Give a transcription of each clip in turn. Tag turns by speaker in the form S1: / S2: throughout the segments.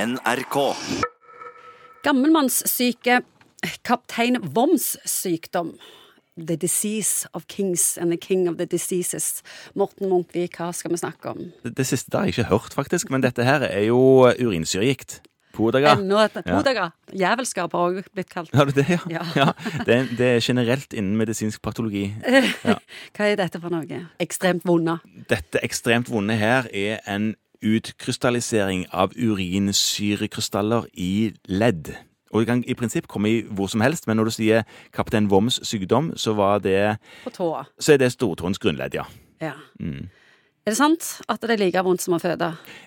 S1: NRK.
S2: Gammelmannssyke, kaptein Voms sykdom. The disease of kings and the king of the diseases. Morten Munkvik, hva skal vi snakke om?
S3: Det, det siste har jeg ikke hørt, faktisk, men dette her er jo urinsyregikt. Podaga.
S2: Enda et
S3: Ja.
S2: hodaga. Jævelskap har også blitt kalt.
S3: Har du det, ja?
S2: Ja.
S3: det, er, det er generelt innen medisinsk patologi.
S2: Hva er dette for noe? Ekstremt vonde.
S3: Dette ekstremt vonde her er en utkrystallisering av urinsyrekrystaller i ledd. Og det kan i prinsipp komme i hvor som helst, men når du sier kaptein Voms sykdom, så, var det,
S2: På tåa.
S3: så er det stortåens grunnledd, ja.
S2: Ja.
S3: Mm.
S2: Er det sant at det er like vondt som å føde?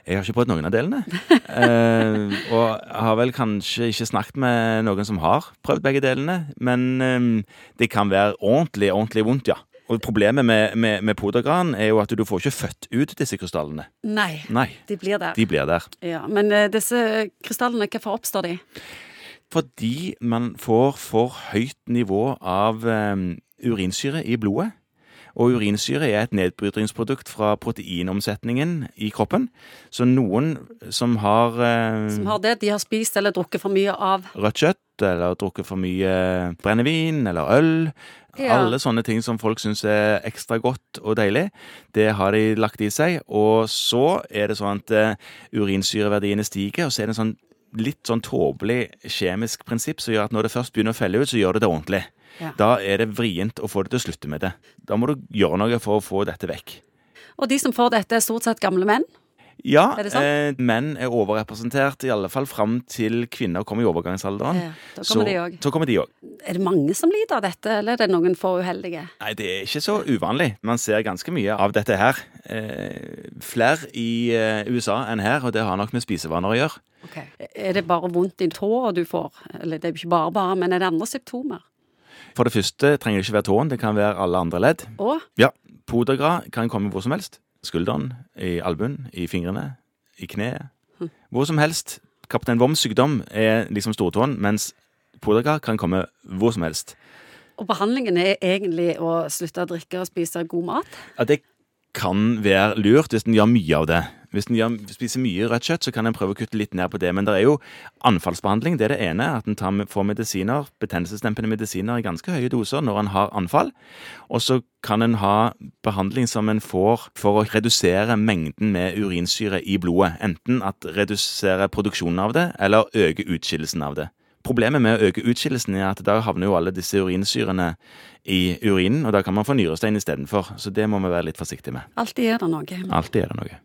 S3: Jeg har ikke prøvd noen av delene. Eh, og har vel kanskje ikke snakket med noen som har prøvd begge delene. Men eh, det kan være ordentlig, ordentlig vondt, ja. Og problemet med, med, med podergran er jo at du får ikke født ut disse krystallene.
S2: Nei.
S3: Nei,
S2: De blir der.
S3: de blir der.
S2: Ja, men eh, disse krystallene, hvorfor oppstår de?
S3: Fordi man får for høyt nivå av eh, urinsyre i blodet. Og urinsyre er et nedbrytningsprodukt fra proteinomsetningen i kroppen. Så noen som har eh,
S2: Som har det? De har spist eller drukket for mye av
S3: rødt kjøtt, eller drukket for mye brennevin eller øl.
S2: Ja.
S3: Alle sånne ting som folk syns er ekstra godt og deilig, det har de lagt i seg. Og så er det sånn at eh, urinsyreverdiene stiger, og så er det en sånn litt sånn tåpelig kjemisk prinsipp som gjør at når det først begynner å felle ut, så gjør det det ordentlig.
S2: Ja.
S3: Da er det vrient å få det til å slutte med det. Da må du gjøre noe for å få dette vekk.
S2: Og de som får dette, er stort sett gamle menn.
S3: Ja,
S2: Er det
S3: eh, menn er overrepresentert, i alle fall fram til kvinner kommer i overgangsalderen.
S2: Ja, Eh, da kommer
S3: Sånn. så,
S2: de også.
S3: Så kommer de òg.
S2: Er det mange som lider av dette, eller er det noen få uheldige?
S3: Nei, det er ikke så uvanlig. Man ser ganske mye av dette her. Eh, Flere i eh, USA enn her, og det har nok med spisevaner å gjøre.
S2: Er det bare vondt i tåa du får? Eller det er jo ikke bare bare, men er det andre symptomer?
S3: For det første trenger det ikke være tåen, det kan være alle andre ledd.
S2: Og
S3: Ja, Podagra kan komme hvor som helst. Skulderen, i albuen, i fingrene, i kneet. Hvor som helst. Kaptein Voms sykdom er liksom stortåen, mens podagra kan komme hvor som helst.
S2: Og behandlingen er egentlig å slutte å drikke og spise god mat.
S3: Ja, det kan være lurt hvis en gjør mye av det. Hvis en gjør, spiser mye rødt kjøtt, så kan en prøve å kutte litt ned på det. Men det er jo anfallsbehandling. Det er det ene. At en tar med- får medisiner, betennelsesdempende medisiner i ganske høye doser når en har anfall. Og så kan en ha behandling som en får for å redusere mengden med urinsyre i blodet. Enten at redusere produksjonen av det, eller øke utskillelsen av det. Problemet med å øke utskillelsen er at da havner jo alle disse urinsyrene i urinen, og da kan man få nyrestein istedenfor. Så det må vi være litt forsiktige med.
S2: Alltid er det noe.
S3: Alltid er det noe.